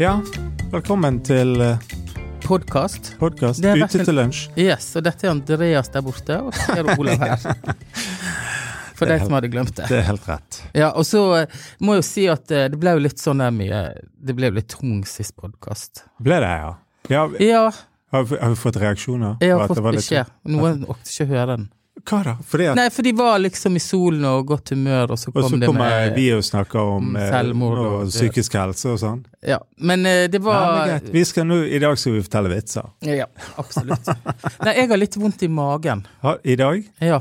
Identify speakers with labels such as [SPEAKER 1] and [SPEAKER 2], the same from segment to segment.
[SPEAKER 1] Ja, velkommen til
[SPEAKER 2] Podkast.
[SPEAKER 1] podkast
[SPEAKER 2] Det er
[SPEAKER 1] Ute
[SPEAKER 2] verken-
[SPEAKER 1] til lunsj.
[SPEAKER 2] Yes, og dette er Andreas der borte, og så er det Olav her. For
[SPEAKER 1] Det er
[SPEAKER 2] deg som hadde glemt det.
[SPEAKER 1] Det er helt rett.
[SPEAKER 2] Ja, og så eh, må jeg jo si at eh, det ble jo litt sånn der mye Det ble jo litt tung sist podkast.
[SPEAKER 1] Ble det, ja? ja har,
[SPEAKER 2] Ja,
[SPEAKER 1] vi- har vi fått reaksjoner?
[SPEAKER 2] jeg
[SPEAKER 1] på
[SPEAKER 2] har
[SPEAKER 1] at det
[SPEAKER 2] fått
[SPEAKER 1] var litt-
[SPEAKER 2] beskjed. Noen orket ikke høre den.
[SPEAKER 1] Hva da? Fordi at,
[SPEAKER 2] Nei, for de var liksom i solen og godt humør, og så
[SPEAKER 1] og
[SPEAKER 2] kom
[SPEAKER 1] så
[SPEAKER 2] det
[SPEAKER 1] kommer
[SPEAKER 2] med
[SPEAKER 1] vi og snakker om
[SPEAKER 2] om
[SPEAKER 1] eh,
[SPEAKER 2] selvmord og-
[SPEAKER 1] og psykisk helse og sånn.
[SPEAKER 2] Ja, men eh, det
[SPEAKER 1] Ja, men
[SPEAKER 2] var
[SPEAKER 1] greit. Vi skal nå, I dag skal vi fortelle vitser.
[SPEAKER 2] Ja, absolutt. Nei, jeg har litt vondt i magen.
[SPEAKER 1] Ha- I dag?
[SPEAKER 2] Ja.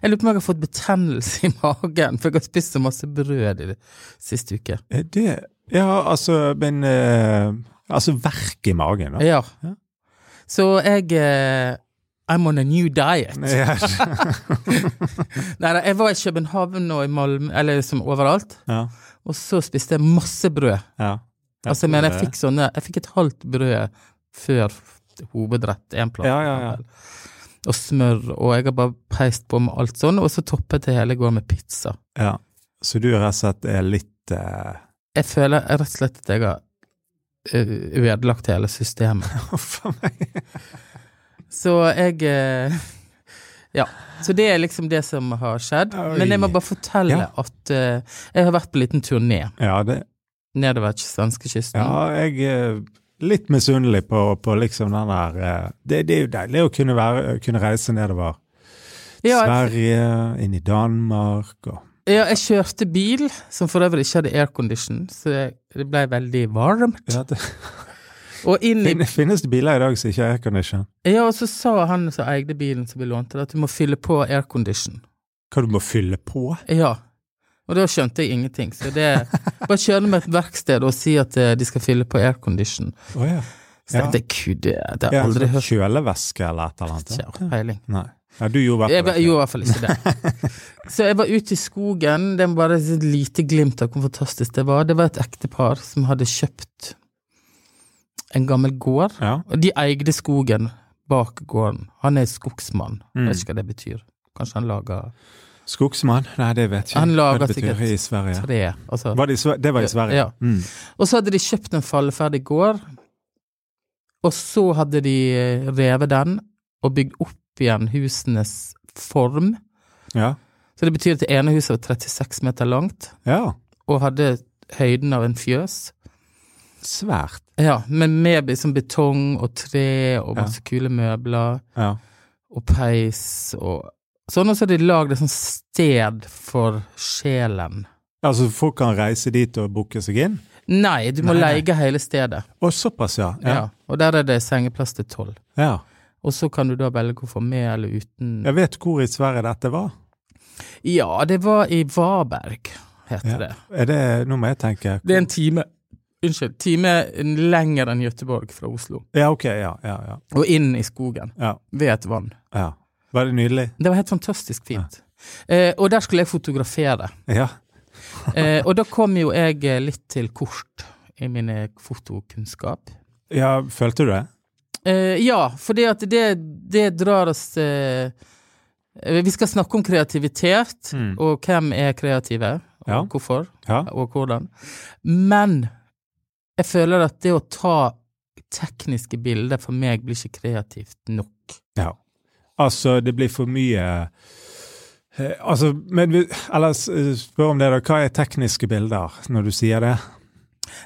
[SPEAKER 2] Jeg lurer på om jeg har fått betennelse i magen, for jeg har spist så masse brød i det siste uke.
[SPEAKER 1] eh, Det Ja, altså Men eh, Altså verk i magen, da.
[SPEAKER 2] Ja.
[SPEAKER 1] Ja.
[SPEAKER 2] Så jeg eh, I'm on a new diet. Nei,
[SPEAKER 1] Ja.
[SPEAKER 2] nei, jeg var i København og i Malmö, eller som overalt,
[SPEAKER 1] ja,
[SPEAKER 2] og så spiste jeg masse brød.
[SPEAKER 1] ja.
[SPEAKER 2] altså, jeg mener, jeg
[SPEAKER 1] tror
[SPEAKER 2] fikk sånne Jeg fikk et halvt brød før hovedrett, én plass.
[SPEAKER 1] Ja, ja, ja.
[SPEAKER 2] Og smør, og jeg har bare peist på med alt sånn, og så toppet det hele i går med pizza.
[SPEAKER 1] det. ja. Så du rett og slett er litt eh,
[SPEAKER 2] Jeg føler rett og slett at jeg har eh, ødelagt hele systemet.
[SPEAKER 1] Huff a meg.
[SPEAKER 2] Så jeg eh, Ja. Så det er liksom det som har skjedd.
[SPEAKER 1] Oi.
[SPEAKER 2] Men jeg må bare fortelle
[SPEAKER 1] Ja.
[SPEAKER 2] at eh, jeg har vært på en liten turné
[SPEAKER 1] Ja, det,
[SPEAKER 2] nedover svenskekysten.
[SPEAKER 1] Ja, jeg er litt misunnelig på, på liksom den der eh, det, det er jo deilig å kunne, være, kunne reise nedover
[SPEAKER 2] Ja, jeg,
[SPEAKER 1] Sverige, inn i Danmark og
[SPEAKER 2] ja, jeg kjørte bil, som for øvrig ikke hadde aircondition, så jeg, det ble veldig varmt.
[SPEAKER 1] ja, det,
[SPEAKER 2] Og inn i
[SPEAKER 1] fin- Finnes det biler i dag som ikke har aircondition?
[SPEAKER 2] Ja, og så sa han som eide bilen som vi lånte, at du må fylle på aircondition.
[SPEAKER 1] Hva du må fylle på?
[SPEAKER 2] Ja. Og da skjønte jeg ingenting, så det Bare kjøre med et verksted og si at eh, de skal fylle på aircondition.
[SPEAKER 1] Å ja. Ja.
[SPEAKER 2] Så tenkte jeg, gud, det det har
[SPEAKER 1] ja
[SPEAKER 2] jeg aldri
[SPEAKER 1] sånn
[SPEAKER 2] hørt.
[SPEAKER 1] Kjølevæske eller et eller
[SPEAKER 2] Ikke
[SPEAKER 1] annet?
[SPEAKER 2] har peiling.
[SPEAKER 1] Nei. Ja, du gjorde i
[SPEAKER 2] Jeg
[SPEAKER 1] hvert
[SPEAKER 2] ba-
[SPEAKER 1] fall
[SPEAKER 2] gjorde
[SPEAKER 1] ikke
[SPEAKER 2] i hvert fall ikke det. Så jeg var ute i skogen, det var bare et lite glimt av hvor fantastisk det var. Det var et ektepar som hadde kjøpt en gammel gård,
[SPEAKER 1] Ja.
[SPEAKER 2] og de eide skogen bak gården. Han er skogsmann, jeg
[SPEAKER 1] Mm.
[SPEAKER 2] vet ikke hva det betyr. Kanskje han lager
[SPEAKER 1] Skogsmann? Nei, det vet jeg ikke.
[SPEAKER 2] Han lager
[SPEAKER 1] Hva det betyr
[SPEAKER 2] sikkert
[SPEAKER 1] i Sverige.
[SPEAKER 2] tre, altså.
[SPEAKER 1] Var det, i Sve- det var i Sverige?
[SPEAKER 2] Ja.
[SPEAKER 1] Mm.
[SPEAKER 2] Og så hadde de kjøpt en falleferdig gård, og så hadde de revet den og bygd opp igjen husenes form.
[SPEAKER 1] ja.
[SPEAKER 2] Så det betyr at det ene huset var 36 meter langt,
[SPEAKER 1] Ja.
[SPEAKER 2] og hadde høyden av en fjøs.
[SPEAKER 1] Svært.
[SPEAKER 2] Ja, men med be- sånn betong og tre og
[SPEAKER 1] Ja.
[SPEAKER 2] masse kule møbler
[SPEAKER 1] Ja.
[SPEAKER 2] og peis og sånn. Og så har de lagd et sånt sted for sjelen.
[SPEAKER 1] Altså, folk kan reise dit og booke seg inn?
[SPEAKER 2] Nei, du må
[SPEAKER 1] Nei, nei.
[SPEAKER 2] leie hele stedet.
[SPEAKER 1] Å, såpass, ja.
[SPEAKER 2] Ja. Og der er det sengeplass til tolv.
[SPEAKER 1] ja.
[SPEAKER 2] Og så kan du da velge å få med eller uten
[SPEAKER 1] Jeg vet hvor i Sverige dette var.
[SPEAKER 2] Ja, det var i Varberg, heter
[SPEAKER 1] Ja.
[SPEAKER 2] det.
[SPEAKER 1] Er det, nå må jeg tenke.
[SPEAKER 2] Det er en time Unnskyld, time lenger enn Gøteborg fra Oslo.
[SPEAKER 1] Ja, ok, ja, ja, ja,
[SPEAKER 2] Og inn i skogen,
[SPEAKER 1] ja,
[SPEAKER 2] ved et vann.
[SPEAKER 1] ja. Var det nydelig?
[SPEAKER 2] Det var helt fantastisk fint. Eh, og der skulle jeg fotografere.
[SPEAKER 1] Ja.
[SPEAKER 2] Eh, og da kom jo jeg eh, litt til kort i mine fotokunnskap.
[SPEAKER 1] ja, følte du det?
[SPEAKER 2] Eh, ja, for det at det, det drar oss eh, eh, Vi skal snakke om kreativitet,
[SPEAKER 1] Mm.
[SPEAKER 2] og hvem er kreative, og
[SPEAKER 1] Ja.
[SPEAKER 2] hvorfor,
[SPEAKER 1] Ja,
[SPEAKER 2] og hvordan. Men jeg føler at det å ta tekniske bilder for meg blir ikke kreativt nok.
[SPEAKER 1] ja. Altså, det blir for mye... eh, Altså, men vi, eller s- spør om det da, hva er tekniske bilder når du sier det?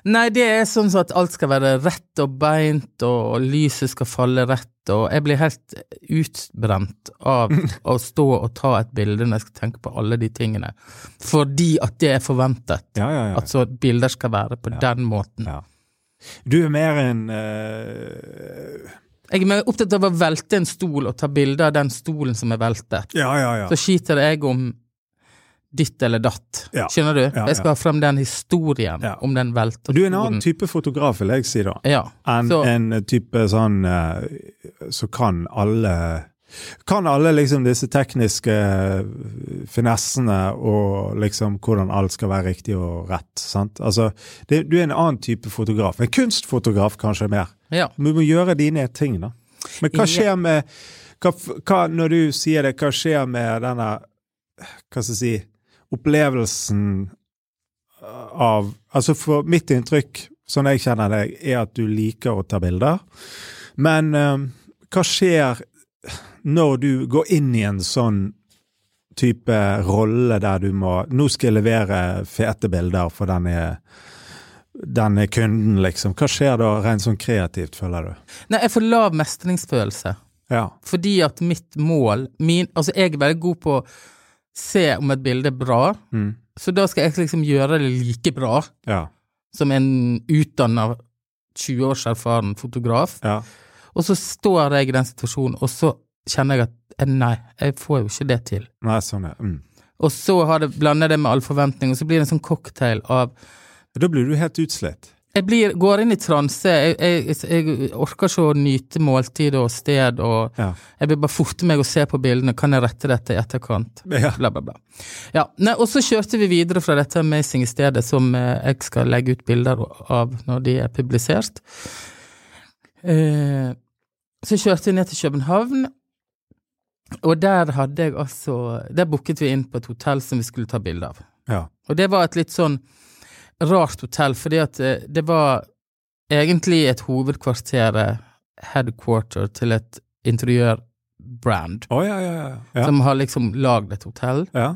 [SPEAKER 2] Nei, det er sånn så at alt skal være rett og beint, og lyset skal falle rett, og jeg blir helt utbrent av
[SPEAKER 1] Mm.
[SPEAKER 2] å stå og ta et bilde når jeg skal tenke på alle de tingene. Fordi at det er forventet.
[SPEAKER 1] Ja, ja, ja.
[SPEAKER 2] At så bilder skal være på den måten.
[SPEAKER 1] ja. Du er mer en... eh,
[SPEAKER 2] Jeg er mer opptatt av å velte en stol og ta bilde av den stolen som er veltet.
[SPEAKER 1] ja, ja, ja.
[SPEAKER 2] Så skiter jeg om ditt eller datt.
[SPEAKER 1] Ja.
[SPEAKER 2] Skjønner du?
[SPEAKER 1] Ja,
[SPEAKER 2] Jeg skal ha frem den historien
[SPEAKER 1] Ja.
[SPEAKER 2] om den velta
[SPEAKER 1] Du er en annen type fotograf, vil jeg si da.
[SPEAKER 2] Ja.
[SPEAKER 1] enn
[SPEAKER 2] Så-
[SPEAKER 1] en type sånn eh, Så kan alle Kan alle liksom disse tekniske eh, finessene og liksom hvordan alt skal være riktig og rett. sant? Altså, det, Du er en annen type fotograf. En kunstfotograf kanskje mer.
[SPEAKER 2] ja.
[SPEAKER 1] Men Du må gjøre dine ting, da. Men hva skjer med hva, f- hva, Når du sier det, hva skjer med denne Hva skal jeg si Opplevelsen av Altså, eh, for mitt inntrykk sånn jeg kjenner deg, er at du liker å ta bilder. Men eh, hva skjer når du går inn i en sånn type rolle der du må Nå skal jeg levere fete bilder for denne, denne kunden, liksom. Hva skjer da rent sånn kreativt, føler du?
[SPEAKER 2] Nei, jeg får lav mestringsfølelse.
[SPEAKER 1] Ja.
[SPEAKER 2] Fordi at mitt mål min, Altså, jeg er veldig god på å se om et bilde er bra,
[SPEAKER 1] Mm.
[SPEAKER 2] så da skal jeg liksom gjøre det like bra
[SPEAKER 1] Ja.
[SPEAKER 2] som en utdanna 20 års erfaren fotograf.
[SPEAKER 1] ja.
[SPEAKER 2] Og så står jeg i den situasjonen, og så kjenner jeg at eh, nei, jeg får jo ikke det til.
[SPEAKER 1] Nei, sånn er mm.
[SPEAKER 2] Og så har det blander det med all forventning, og så blir det en sånn cocktail av
[SPEAKER 1] Da blir du helt utslitt.
[SPEAKER 2] Jeg blir, går inn i transe. Jeg, jeg, jeg orker ikke å nyte måltid og sted, og
[SPEAKER 1] Ja.
[SPEAKER 2] jeg vil bare forte meg og se på bildene. Kan jeg rette dette i etterkant?
[SPEAKER 1] Ja.
[SPEAKER 2] Bla, bla, bla. Ja, nei, og så kjørte vi videre fra dette amazing stedet som eh, jeg skal legge ut bilder av når de er publisert. Eh, så kjørte vi ned til København, og der hadde jeg altså Der booket vi inn på et hotell som vi skulle ta bilde av.
[SPEAKER 1] ja.
[SPEAKER 2] Og det var et litt sånn rart hotell, fordi at eh, det var egentlig et hovedkvarter, eh, headquarter, til et interiørbrand,
[SPEAKER 1] Å, ja, ja, ja. Ja.
[SPEAKER 2] som har liksom lagd et hotell.
[SPEAKER 1] ja.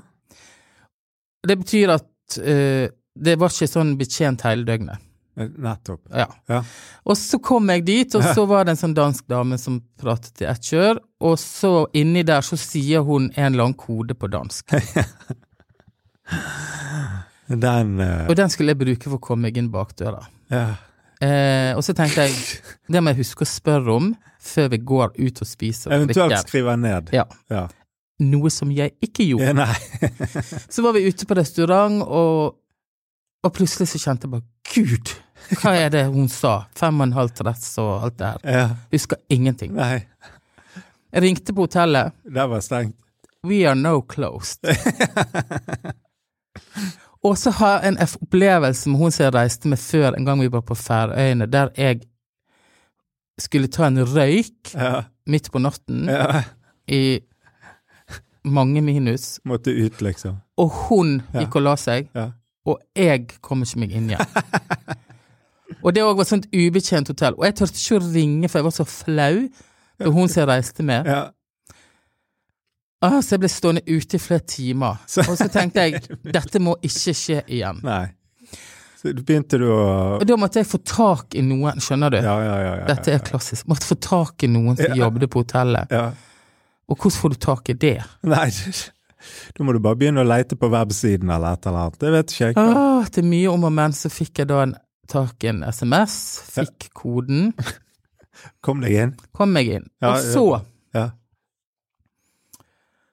[SPEAKER 2] Det betyr at eh, det var ikke sånn betjent hele døgnet.
[SPEAKER 1] Eh, Nettopp.
[SPEAKER 2] Ja.
[SPEAKER 1] Ja.
[SPEAKER 2] Og så kom jeg dit, og så var det en sånn dansk dame som pratet i ett kjør, og så inni der så sier hun en eller annen kode på dansk.
[SPEAKER 1] Den eh,
[SPEAKER 2] Og den skulle jeg bruke for å komme meg inn bakdøra.
[SPEAKER 1] ja.
[SPEAKER 2] Eh, og så tenkte jeg, det må jeg huske å spørre om før vi går ut og spiser og
[SPEAKER 1] Eventuelt
[SPEAKER 2] drikker.
[SPEAKER 1] skrive ned.
[SPEAKER 2] Ja.
[SPEAKER 1] Ja.
[SPEAKER 2] Noe som jeg ikke gjorde.
[SPEAKER 1] Ja, nei.
[SPEAKER 2] Så var vi ute på restaurant, og, og plutselig så kjente jeg bare Gud, hva er det hun sa? Fem og en halv dress og alt det her.
[SPEAKER 1] Ja.
[SPEAKER 2] Husker ingenting.
[SPEAKER 1] nei.
[SPEAKER 2] Jeg ringte på hotellet.
[SPEAKER 1] Den var stengt.
[SPEAKER 2] We are now closed. og så har jeg en f- opplevelse med hun som jeg reiste med før, en gang vi var på Færøyene, der jeg skulle ta en røyk
[SPEAKER 1] Ja.
[SPEAKER 2] midt på natten.
[SPEAKER 1] ja.
[SPEAKER 2] i mange minus,
[SPEAKER 1] Måtte ut, liksom.
[SPEAKER 2] og hun
[SPEAKER 1] Ja.
[SPEAKER 2] gikk og la seg,
[SPEAKER 1] Ja.
[SPEAKER 2] og jeg kom ikke meg inn igjen. og det òg var et sånt ubetjent hotell, og jeg turte ikke å ringe, for jeg var så flau. For hun som jeg reiste med.
[SPEAKER 1] Ja.
[SPEAKER 2] Ah, så jeg ble stående ute i flere timer.
[SPEAKER 1] Så-
[SPEAKER 2] Og så tenkte jeg dette må ikke skje igjen.
[SPEAKER 1] Nei. Så da begynte du å
[SPEAKER 2] Og da måtte jeg få tak i noen, skjønner du.
[SPEAKER 1] Ja, ja, ja. ja,
[SPEAKER 2] Dette er klassisk. Måtte få tak i noen som jobbet på hotellet.
[SPEAKER 1] ja.
[SPEAKER 2] Og hvordan får du tak i det?
[SPEAKER 1] Nei, da må du bare begynne å leite på websiden eller et eller annet. Det vet ikke jeg.
[SPEAKER 2] Ah, etter mye om og men så fikk jeg da en, tak i en SMS, fikk koden,
[SPEAKER 1] Kom deg inn.
[SPEAKER 2] kom meg inn.
[SPEAKER 1] Ja,
[SPEAKER 2] og så,
[SPEAKER 1] Ja.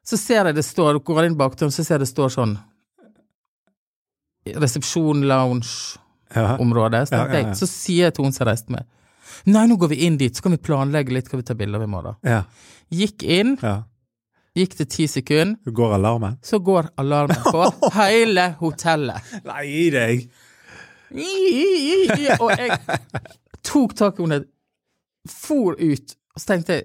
[SPEAKER 2] så ser jeg det står, går inn bakdøren, så ser jeg det står sånn Resepsjon, lounge,
[SPEAKER 1] Ja.
[SPEAKER 2] område. Så,
[SPEAKER 1] Ja,
[SPEAKER 2] tenkte
[SPEAKER 1] ja, ja.
[SPEAKER 2] jeg, så sier jeg til hun som reiste med Nei, nå går vi inn dit, så kan vi planlegge litt hva vi tar bilder av i morgen.
[SPEAKER 1] ja.
[SPEAKER 2] Gikk inn,
[SPEAKER 1] ja.
[SPEAKER 2] gikk det ti sekunder,
[SPEAKER 1] Du går alarmen?
[SPEAKER 2] så går alarmen på hele hotellet.
[SPEAKER 1] Nei, gi deg!
[SPEAKER 2] Og jeg tok tak i henne, for ut, og så tenkte jeg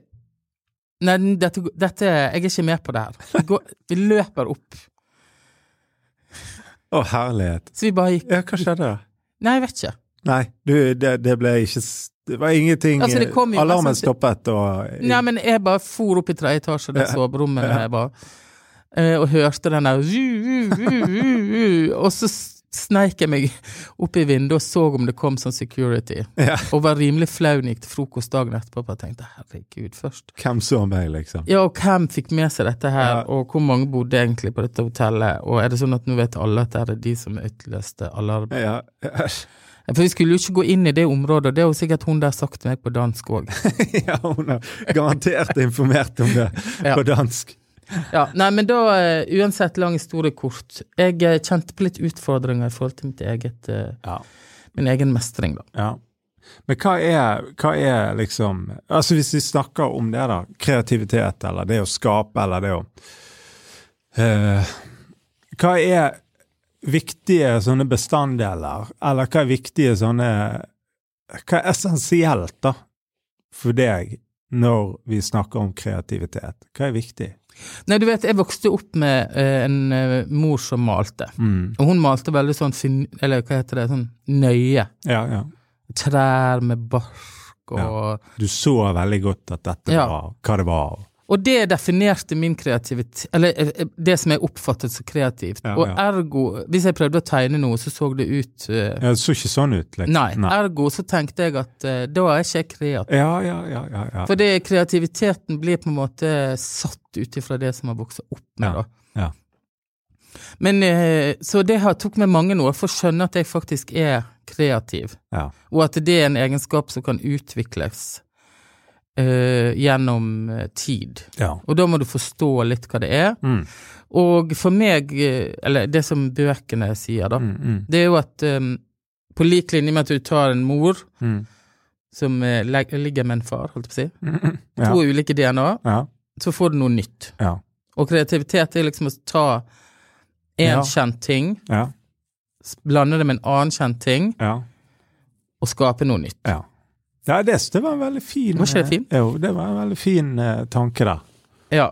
[SPEAKER 2] Nei, dette, dette Jeg er ikke med på det her. Vi, går, vi løper opp.
[SPEAKER 1] Å, herlighet.
[SPEAKER 2] Så vi bare gikk
[SPEAKER 1] Ja, hva skjedde da?
[SPEAKER 2] Nei, jeg vet ikke.
[SPEAKER 1] Nei, du, det, det ble ikke s- Det var ingenting eh,
[SPEAKER 2] Altså, det kom jo-
[SPEAKER 1] Alarmen
[SPEAKER 2] altså,
[SPEAKER 1] stoppet, og eh,
[SPEAKER 2] Nei, men jeg bare for opp i tredje etasje, det soverommet der jeg var, eh, og hørte den der Og så sneik jeg meg opp i vinduet og så om det kom sånn security.
[SPEAKER 1] Ja.
[SPEAKER 2] Og var rimelig flau når jeg gikk til frokost dagen etterpå og tenkte herregud, først.
[SPEAKER 1] Hvem så meg, liksom?
[SPEAKER 2] Ja, og hvem fikk med seg dette her,
[SPEAKER 1] Ja.
[SPEAKER 2] og hvor mange bodde egentlig på dette hotellet, og er det sånn at nå vet alle at det er de som utløste alarm?
[SPEAKER 1] Ja. ja,
[SPEAKER 2] For vi skulle jo ikke gå inn i det området, og det har jo sikkert hun der sagt til meg på dansk òg.
[SPEAKER 1] hun har garantert informert om det
[SPEAKER 2] Ja.
[SPEAKER 1] på dansk.
[SPEAKER 2] Ja, nei, men da, eh, uansett lang historie kort, jeg eh, kjente på litt utfordringer i forhold til mitt eget, eh,
[SPEAKER 1] Ja.
[SPEAKER 2] min egen mestring, da.
[SPEAKER 1] Ja. Men hva er, hva er liksom Altså Hvis vi snakker om det, da. Kreativitet, eller det å skape, eller det å eh, Hva er viktige sånne bestanddeler, eller hva er viktige sånne Hva er essensielt, da, for deg når vi snakker om kreativitet? Hva er viktig?
[SPEAKER 2] Nei, du vet, jeg vokste opp med eh, en eh, mor som malte,
[SPEAKER 1] Mm.
[SPEAKER 2] og hun malte veldig sånn fin... Eller hva heter det, sånn nøye.
[SPEAKER 1] Ja, ja.
[SPEAKER 2] trær med bark og
[SPEAKER 1] Du så veldig godt at dette
[SPEAKER 2] Ja.
[SPEAKER 1] var hva det var.
[SPEAKER 2] Og det definerte min kreativitet, eller eh, det som jeg oppfattet som kreativt.
[SPEAKER 1] Ja,
[SPEAKER 2] og
[SPEAKER 1] ja.
[SPEAKER 2] ergo, hvis jeg prøvde å tegne noe, så så det ut eh,
[SPEAKER 1] Ja, det så ikke sånn ut. Liksom.
[SPEAKER 2] nei. Ergo så tenkte jeg at eh, da er ikke jeg kreativ.
[SPEAKER 1] Ja, ja, ja. ja, ja.
[SPEAKER 2] For det, kreativiteten blir på en måte satt ut ifra det som har vokst opp med,
[SPEAKER 1] Ja,
[SPEAKER 2] da.
[SPEAKER 1] ja.
[SPEAKER 2] Men, eh, så det har tok meg mange år for å skjønne at jeg faktisk er kreativ,
[SPEAKER 1] ja.
[SPEAKER 2] og at det er en egenskap som kan utvikles eh, gjennom eh, tid.
[SPEAKER 1] ja.
[SPEAKER 2] Og da må du forstå litt hva det er.
[SPEAKER 1] Mm,
[SPEAKER 2] Og for meg, eh, eller det som bøkene sier, da,
[SPEAKER 1] mm, mm,
[SPEAKER 2] det er jo at eh, på lik linje med at du tar en mor
[SPEAKER 1] mm,
[SPEAKER 2] som eh, leg- ligger med en far, holdt jeg på å si,
[SPEAKER 1] mm,
[SPEAKER 2] to
[SPEAKER 1] ja,
[SPEAKER 2] ulike DNA,
[SPEAKER 1] ja,
[SPEAKER 2] så får du noe nytt.
[SPEAKER 1] ja,
[SPEAKER 2] Og kreativitet er liksom å ta en
[SPEAKER 1] Ja.
[SPEAKER 2] kjent ting,
[SPEAKER 1] ja,
[SPEAKER 2] s- blande det med en annen kjent ting,
[SPEAKER 1] ja,
[SPEAKER 2] og skape noe nytt.
[SPEAKER 1] ja. Ja, det, det var en veldig fin
[SPEAKER 2] Var ikke det fin?
[SPEAKER 1] eh, Jo, det var en veldig fin eh, tanke der.
[SPEAKER 2] Ja.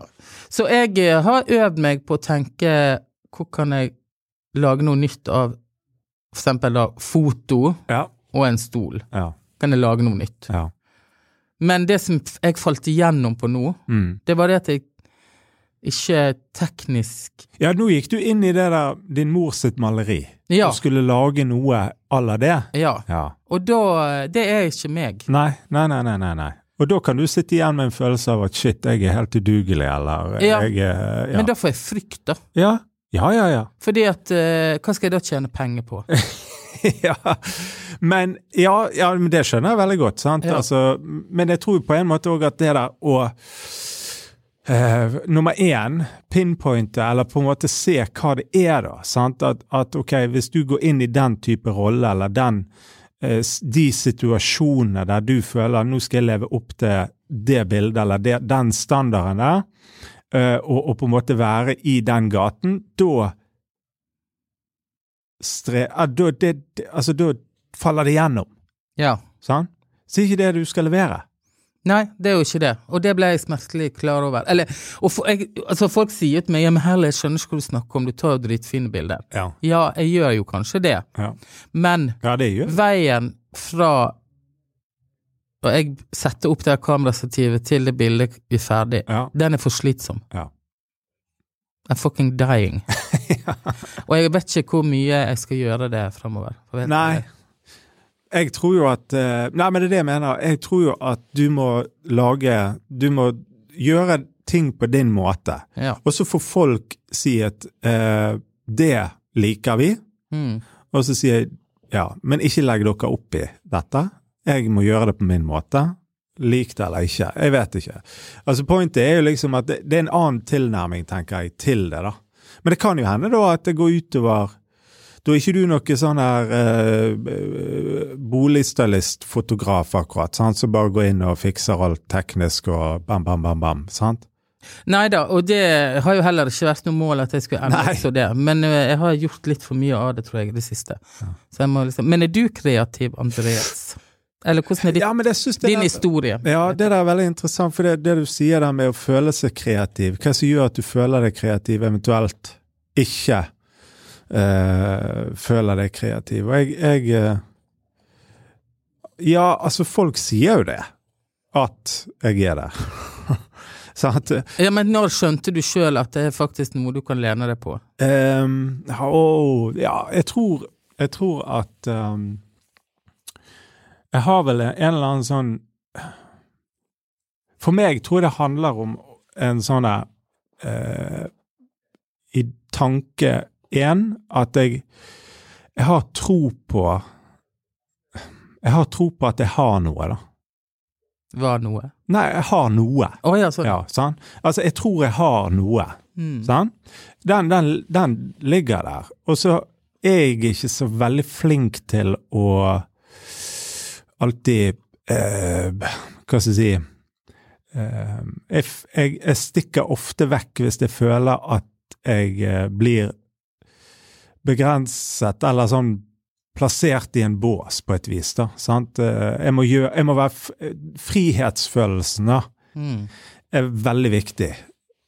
[SPEAKER 2] Så jeg eh, har øvd meg på å tenke hvor kan jeg lage noe nytt av for eksempel da foto
[SPEAKER 1] Ja,
[SPEAKER 2] og en stol.
[SPEAKER 1] ja,
[SPEAKER 2] Kan jeg lage noe nytt?
[SPEAKER 1] ja.
[SPEAKER 2] Men det som f- jeg falt igjennom på nå,
[SPEAKER 1] Mm.
[SPEAKER 2] det var det at jeg ikke teknisk
[SPEAKER 1] Ja, nå gikk du inn i det der din mor sitt maleri.
[SPEAKER 2] Ja.
[SPEAKER 1] Og skulle lage noe à la det.
[SPEAKER 2] Ja.
[SPEAKER 1] Ja.
[SPEAKER 2] Og da eh, Det er ikke meg.
[SPEAKER 1] Nei, nei, nei, nei, nei, nei. Og da kan du sitte igjen med en følelse av at shit, jeg er helt udugelig, eller
[SPEAKER 2] Ja.
[SPEAKER 1] jeg er ja.
[SPEAKER 2] Men da får jeg frykt, da.
[SPEAKER 1] ja. Ja, ja, ja.
[SPEAKER 2] Fordi at eh, Hva skal jeg da tjene penger på?
[SPEAKER 1] ja. Men ja, ja, men det skjønner jeg veldig godt. sant?
[SPEAKER 2] Ja.
[SPEAKER 1] Altså, men jeg tror på en måte òg at det der å eh, nummer én, pinpointe, eller på en måte se hva det er, da. sant? At, at ok, hvis du går inn i den type rolle, eller den, eh, s- de situasjonene der du føler nå skal jeg leve opp til det bildet, eller det, den standarden der, eh, og, og på en måte være i den gaten, da stre... ja, Da, det, det, altså, da faller det gjennom.
[SPEAKER 2] Ja.
[SPEAKER 1] Sant? Så ikke det du skal levere.
[SPEAKER 2] Nei, det er jo ikke det. Og det ble jeg smertelig klar over. Eller, og for, jeg, altså Folk sier til meg ja, men herlig, jeg skjønner ikke hva du snakker om, du tar jo dritfine bilder.
[SPEAKER 1] Ja.
[SPEAKER 2] Ja, jeg gjør jo kanskje det,
[SPEAKER 1] Ja,
[SPEAKER 2] men
[SPEAKER 1] det gjør det.
[SPEAKER 2] veien fra Og jeg setter opp det her kamerastativet til det bildet er ferdig.
[SPEAKER 1] Ja.
[SPEAKER 2] Den er for slitsom.
[SPEAKER 1] Ja.
[SPEAKER 2] I'm fucking dying. Og jeg vet ikke hvor mye jeg skal gjøre det framover.
[SPEAKER 1] Nei. Jeg tror jo at eh, Nei, men det er det jeg mener. Jeg tror jo at du må lage Du må gjøre ting på din måte.
[SPEAKER 2] Ja.
[SPEAKER 1] Og så får folk si at eh, det liker vi,
[SPEAKER 2] Mm.
[SPEAKER 1] og så sier jeg ja, men ikke legg dere opp i dette. Jeg må gjøre det på min måte. Lik det eller ikke. Jeg vet ikke. Altså Pointet er jo liksom at det, det er en annen tilnærming, tenker jeg, til det. da. Men det kan jo hende da at det går utover Da er ikke du noe sånn her eh, boligstylistfotograf, akkurat, sant, som bare går inn og fikser alt teknisk og bam, bam, bam, bam. sant?
[SPEAKER 2] Neida, og det har jo heller ikke vært noe mål at jeg skulle endre
[SPEAKER 1] Nei.
[SPEAKER 2] så det, men ø, jeg har gjort litt for mye av det, tror jeg, i det siste. Så jeg må liksom, men er du kreativ, Andreas? Eller hvordan er ditt,
[SPEAKER 1] Ja, men altså- det synes jeg
[SPEAKER 2] din
[SPEAKER 1] er-
[SPEAKER 2] historie?
[SPEAKER 1] Ja, det der er veldig interessant, for det, det du sier der med å føle seg kreativ, hva er det som gjør at du føler deg kreativ, eventuelt ikke eh, føler deg kreativ? Og jeg, jeg eh, Ja, altså, folk sier jo det, at jeg er der. Sant?
[SPEAKER 2] Ja, men når skjønte du sjøl at det er faktisk noe du kan lene deg på?
[SPEAKER 1] Ehm, ja, å, ja, jeg tror, jeg tror at ehm, Jeg har vel en eller annen sånn For meg tror jeg det handler om en sånn der eh, I tanke én at jeg Jeg har tro på Jeg har tro på at jeg har noe, da.
[SPEAKER 2] Var noe?
[SPEAKER 1] Nei, jeg har noe.
[SPEAKER 2] Å ja, sånn.
[SPEAKER 1] Ja, sant? Altså, jeg tror jeg har noe.
[SPEAKER 2] Mm.
[SPEAKER 1] Sant? Den, den, den ligger der. Og så er jeg ikke så veldig flink til å alltid eh, Hva skal jeg si eh, jeg, f- jeg, jeg stikker ofte vekk hvis jeg føler at jeg eh, blir begrenset, eller sånn plassert i en bås, på et vis. da, sant? Eh, Jeg må, gjøre, jeg må være f eh, Frihetsfølelsen, da
[SPEAKER 2] Mm.
[SPEAKER 1] er veldig viktig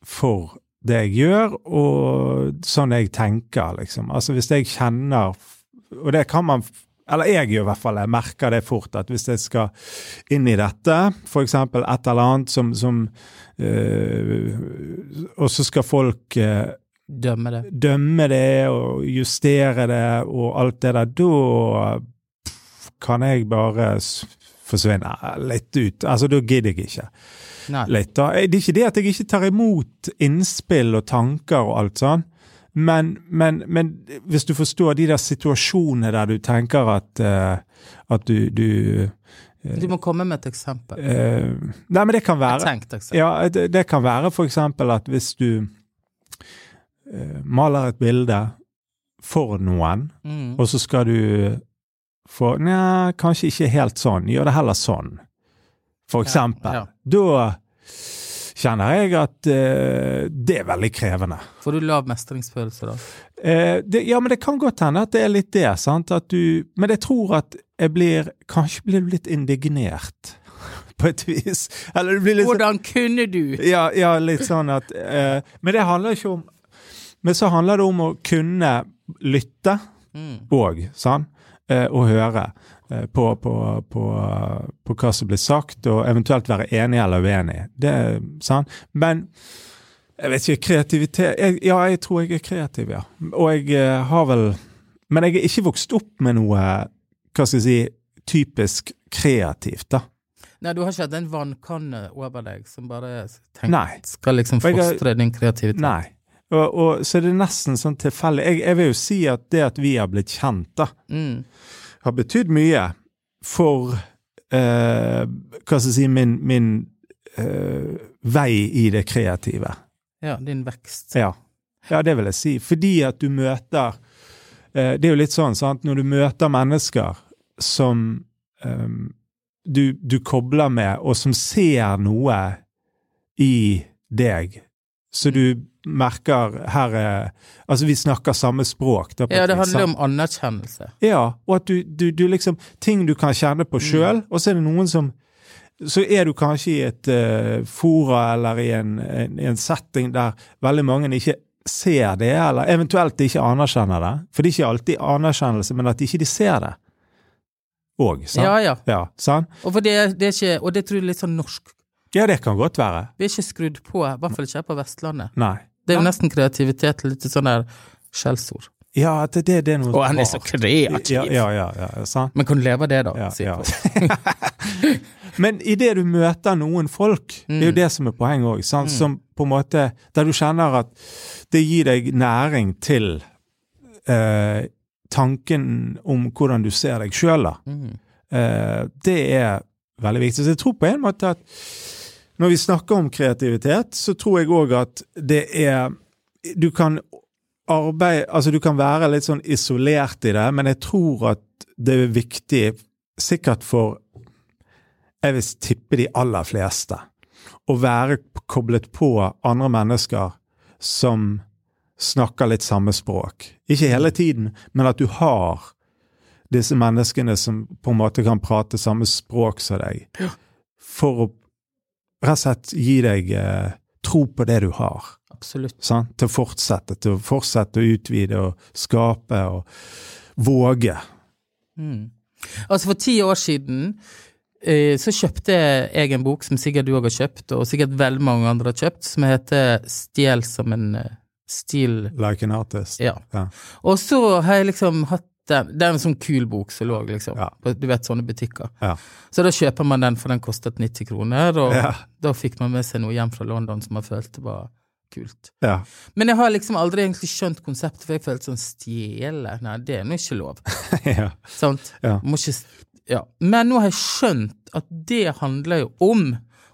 [SPEAKER 1] for det jeg gjør, og sånn jeg tenker, liksom. Altså hvis jeg kjenner Og det kan man f- Eller jeg gjør i hvert fall jeg merker det fort, at hvis jeg skal inn i dette, f.eks. et eller annet som, som eh, Og så skal folk eh,
[SPEAKER 2] Dømme det.
[SPEAKER 1] dømme det og justere det og alt det der, da pff, kan jeg bare s- forsvinne litt ut. Altså, da gidder jeg ikke
[SPEAKER 2] Nei.
[SPEAKER 1] litt. Da. Det er ikke det at jeg ikke tar imot innspill og tanker og alt sånn, men, men, men hvis du forstår de der situasjonene der du tenker at, eh, at du, du
[SPEAKER 2] Du må komme med et eksempel.
[SPEAKER 1] eh, Nei, men det kan
[SPEAKER 2] Et
[SPEAKER 1] være
[SPEAKER 2] tenkt eksempel.
[SPEAKER 1] ja, det, det kan være for eksempel at hvis du eh, maler et bilde for noen,
[SPEAKER 2] Mm.
[SPEAKER 1] og så skal du få Nja, kanskje ikke helt sånn. Gjør det heller sånn, for
[SPEAKER 2] Ja,
[SPEAKER 1] eksempel.
[SPEAKER 2] ja.
[SPEAKER 1] Da kjenner jeg at eh, det er veldig krevende.
[SPEAKER 2] Får du lav mestringsfølelse da?
[SPEAKER 1] Eh, det, ja, men det kan godt hende at det er litt det, sant. At du Men jeg tror at jeg blir Kanskje blir du litt indignert, på et vis. Eller du blir litt
[SPEAKER 2] Hvordan kunne du?
[SPEAKER 1] ja, ja, litt sånn at eh, Men det handler ikke om Men så handler det om å kunne lytte
[SPEAKER 2] Mm.
[SPEAKER 1] òg, sant? Eh, og høre eh, på, på, på, på hva som blir sagt, og eventuelt være enig eller uenig. Det er sant. Men jeg vet ikke, kreativitet jeg, Ja, jeg tror jeg er kreativ, ja. Og jeg eh, har vel Men jeg er ikke vokst opp med noe, hva skal jeg si, typisk kreativt, da.
[SPEAKER 2] Nei, du har ikke hatt en vannkanne over deg som bare tenk,
[SPEAKER 1] Nei.
[SPEAKER 2] skal liksom
[SPEAKER 1] Og jeg har-
[SPEAKER 2] fostre din kreativitet?
[SPEAKER 1] Nei. Og, og, så er det nesten sånn tilfeldig. Jeg, jeg vil jo si at det at vi har blitt kjent, da,
[SPEAKER 2] Mm.
[SPEAKER 1] har betydd mye for eh, Hva skal jeg si Min, min eh, vei i det kreative.
[SPEAKER 2] Ja, din vekst.
[SPEAKER 1] Ja. ja, det vil jeg si. Fordi at du møter eh, Det er jo litt sånn, sant, når du møter mennesker som eh, du, du kobler med, og som ser noe i deg, så du merker her er, Altså, vi snakker samme språk. Da, på
[SPEAKER 2] Ja,
[SPEAKER 1] et
[SPEAKER 2] det
[SPEAKER 1] vis, sant?
[SPEAKER 2] handler om anerkjennelse.
[SPEAKER 1] Ja, og at du, du, du liksom Ting du kan kjenne
[SPEAKER 2] Mm.
[SPEAKER 1] på sjøl, og så er det noen som Så er du kanskje i et eh, fora eller i en, en, en setting der veldig mange ikke ser det, eller eventuelt ikke anerkjenner det. For det er ikke alltid anerkjennelse, men at ikke de ser det òg.
[SPEAKER 2] Ja,
[SPEAKER 1] Sant?
[SPEAKER 2] ja.
[SPEAKER 1] Ja. sant?
[SPEAKER 2] Og, for det, det er ikke, og det tror jeg er litt sånn norsk.
[SPEAKER 1] Ja, det kan godt være.
[SPEAKER 2] Vi er ikke skrudd på, i hvert fall ikke her på Vestlandet.
[SPEAKER 1] Nei.
[SPEAKER 2] Det er jo nesten kreativitet, litt sånn der skjellsord.
[SPEAKER 1] Ja, at det, det, det er noe
[SPEAKER 2] Og han er så
[SPEAKER 1] rart.
[SPEAKER 2] kreativ.
[SPEAKER 1] Ja, ja, ja, ja, sant?
[SPEAKER 2] Men kan du leve av det, da?
[SPEAKER 1] Ja,
[SPEAKER 2] sier
[SPEAKER 1] ja.
[SPEAKER 2] folk.
[SPEAKER 1] Men idet du møter noen folk, det
[SPEAKER 2] Mm.
[SPEAKER 1] er jo det som er poenget òg, som på en måte Der du kjenner at det gir deg næring til eh, tanken om hvordan du ser deg sjøl, da.
[SPEAKER 2] Mm.
[SPEAKER 1] Eh, det er veldig viktig. Så jeg tror på en måte at når vi snakker om kreativitet, så tror jeg òg at det er Du kan arbeide Altså, du kan være litt sånn isolert i det, men jeg tror at det er viktig, sikkert for Jeg vil tippe de aller fleste, å være koblet på andre mennesker som snakker litt samme språk. Ikke hele tiden, men at du har disse menneskene som på en måte kan prate samme språk som deg, for å rett og slett gi deg eh, tro på det du har.
[SPEAKER 2] Absolutt.
[SPEAKER 1] Sant? Til å fortsette, til å fortsette å utvide og skape og våge.
[SPEAKER 2] Mm. Altså, for ti år siden eh, så kjøpte jeg en bok som sikkert du òg har kjøpt, og sikkert veldig mange andre har kjøpt, som heter Stjel som en eh, stil...
[SPEAKER 1] Like an artist.
[SPEAKER 2] Ja.
[SPEAKER 1] Ja.
[SPEAKER 2] Og så har jeg liksom hatt den. Det er en sånn kul bok som lå, liksom.
[SPEAKER 1] Ja.
[SPEAKER 2] på- Du vet, sånne butikker.
[SPEAKER 1] Ja.
[SPEAKER 2] Så da kjøper man den, for den kostet 90 kroner, og
[SPEAKER 1] Ja.
[SPEAKER 2] da fikk man med seg noe hjem fra London som man følte var kult.
[SPEAKER 1] ja.
[SPEAKER 2] Men jeg har liksom aldri egentlig skjønt konseptet, for jeg følte sånn stjele Nei, det er nå ikke lov.
[SPEAKER 1] ja.
[SPEAKER 2] Sant?
[SPEAKER 1] Ja.
[SPEAKER 2] Må ikke s- ja. Men nå har jeg skjønt at det handler jo om,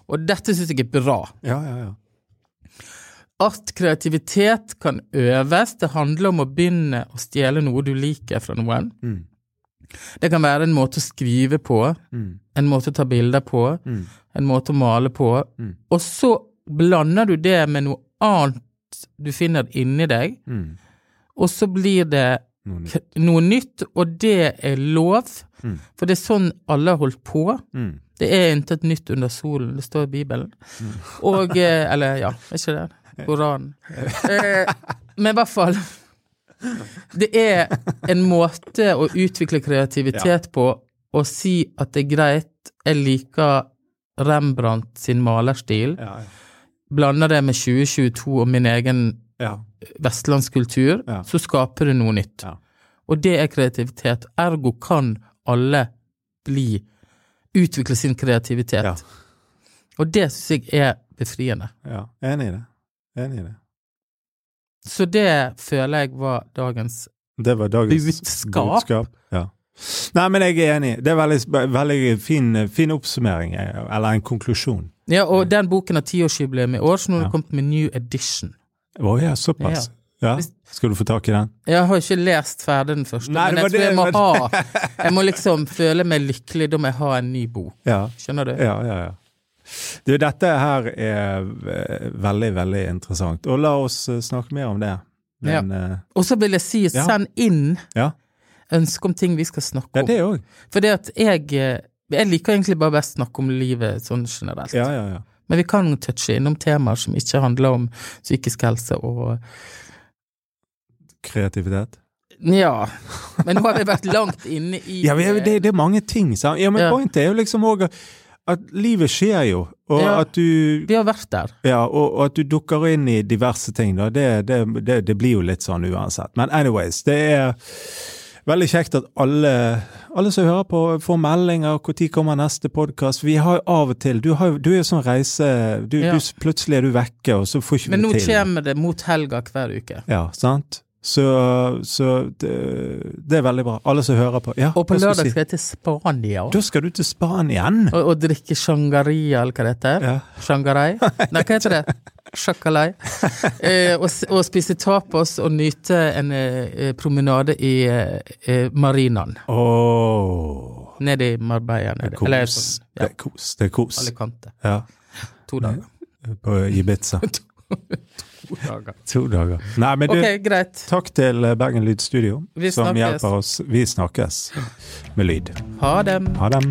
[SPEAKER 2] og dette syns jeg er bra,
[SPEAKER 1] Ja, ja, ja.
[SPEAKER 2] at kreativitet kan øves. Det handler om å begynne å stjele noe du liker fra noen.
[SPEAKER 1] Mm.
[SPEAKER 2] Det kan være en måte å skrive på,
[SPEAKER 1] Mm.
[SPEAKER 2] en måte å ta bilder på,
[SPEAKER 1] Mm.
[SPEAKER 2] en måte å male på.
[SPEAKER 1] Mm.
[SPEAKER 2] Og så blander du det med noe annet du finner inni deg,
[SPEAKER 1] Mm.
[SPEAKER 2] og så blir det
[SPEAKER 1] Noe nytt.
[SPEAKER 2] k- noe nytt, og det er lov.
[SPEAKER 1] Mm.
[SPEAKER 2] For det er sånn alle har holdt på.
[SPEAKER 1] Mm.
[SPEAKER 2] Det er intet nytt under solen, det står i Bibelen. Og eh, Eller, ja, er ikke det? Koranen. Eh, men i hvert fall Det er en måte å utvikle kreativitet på å si at det er greit, jeg liker Rembrandt sin malerstil,
[SPEAKER 1] Ja,
[SPEAKER 2] blander det med 2022 og min egen
[SPEAKER 1] ja.
[SPEAKER 2] vestlandskultur,
[SPEAKER 1] Ja.
[SPEAKER 2] så skaper du noe nytt.
[SPEAKER 1] Ja.
[SPEAKER 2] Og det er kreativitet. Ergo kan alle bli Utvikle sin kreativitet.
[SPEAKER 1] Ja.
[SPEAKER 2] Og det syns jeg er befriende.
[SPEAKER 1] ja. Enig i det. Enig i det.
[SPEAKER 2] Så det føler jeg var dagens
[SPEAKER 1] Det var dagens
[SPEAKER 2] Budskap.
[SPEAKER 1] Ja. Nei, men jeg er enig. Det er veldig, veldig fin, fin oppsummering, eh, eller en konklusjon.
[SPEAKER 2] Ja, og den boken har tiårsjubileum i år, så nå har
[SPEAKER 1] Mm. Ja.
[SPEAKER 2] det kommet med new edition.
[SPEAKER 1] Å ja, såpass. Ja. Skal du få tak i den?
[SPEAKER 2] Jeg har ikke lest ferdig den første,
[SPEAKER 1] Nei,
[SPEAKER 2] men jeg
[SPEAKER 1] det
[SPEAKER 2] tror jeg må
[SPEAKER 1] var det-
[SPEAKER 2] ha Jeg må liksom føle meg lykkelig, da må jeg ha en ny bok.
[SPEAKER 1] Ja,
[SPEAKER 2] Skjønner du?
[SPEAKER 1] ja, ja. ja. Du, dette her er eh, veldig, veldig interessant. Og la oss eh, snakke mer om det. Men, eh,
[SPEAKER 2] Og så vil jeg si,
[SPEAKER 1] Ja.
[SPEAKER 2] send inn
[SPEAKER 1] ja.
[SPEAKER 2] ønske om ting vi skal
[SPEAKER 1] ja,
[SPEAKER 2] snakke om.
[SPEAKER 1] det òg.
[SPEAKER 2] For det at jeg eh, Jeg liker egentlig bare best snakke om livet sånn generelt.
[SPEAKER 1] Ja, ja, ja.
[SPEAKER 2] Men vi kan touche innom temaer som ikke handler om psykisk helse og
[SPEAKER 1] Kreativitet.
[SPEAKER 2] Nja. Men nå har vi vært langt inne i
[SPEAKER 1] Ja, men det, det er mange ting. Sant? Ja, men
[SPEAKER 2] Ja.
[SPEAKER 1] pointet er jo liksom òg at, at livet skjer jo, og
[SPEAKER 2] Ja.
[SPEAKER 1] at du
[SPEAKER 2] Vi har vært der.
[SPEAKER 1] Ja, og, og at du dukker inn i diverse ting, da, det, det, det, det blir jo litt sånn uansett. Men anyways, det er veldig kjekt at alle, alle som hører på, får meldinger. Når kommer neste podkast? Vi har jo av og til Du, har, jo- du er jo sånn reise... Du,
[SPEAKER 2] Ja.
[SPEAKER 1] du, plutselig er du vekke, og så får ikke
[SPEAKER 2] Men nå
[SPEAKER 1] vi til.
[SPEAKER 2] kommer det mot helga hver uke.
[SPEAKER 1] Ja, sant? Så, så det, det er veldig bra. Alle som hører på. Ja,
[SPEAKER 2] Og på
[SPEAKER 1] hva skal
[SPEAKER 2] lørdag
[SPEAKER 1] jeg si?
[SPEAKER 2] skal jeg til Spania og,
[SPEAKER 1] Da skal du til Spania igjen!
[SPEAKER 2] og drikke shangaria, eller hva det heter.
[SPEAKER 1] Ja.
[SPEAKER 2] Shangarai? Nei, hva heter det? Shakalai. Eh, og, s- og spise tapas og nyte en eh, promenade i eh, marinaen.
[SPEAKER 1] Åh,
[SPEAKER 2] Nede i Marbella. Nede. Eller
[SPEAKER 1] kos.
[SPEAKER 2] sånn,
[SPEAKER 1] Det
[SPEAKER 2] ja,
[SPEAKER 1] er kos. Det er kos.
[SPEAKER 2] Alicante.
[SPEAKER 1] Ja,
[SPEAKER 2] To dager.
[SPEAKER 1] på Ibiza.
[SPEAKER 2] To dager.
[SPEAKER 1] To dager. Nei, men du,
[SPEAKER 2] Ok, greit.
[SPEAKER 1] takk til Bergen Lydstudio,
[SPEAKER 2] Vi
[SPEAKER 1] som
[SPEAKER 2] snakkes.
[SPEAKER 1] hjelper oss. Vi snakkes med lyd.
[SPEAKER 2] Ha dem.
[SPEAKER 1] Ha det.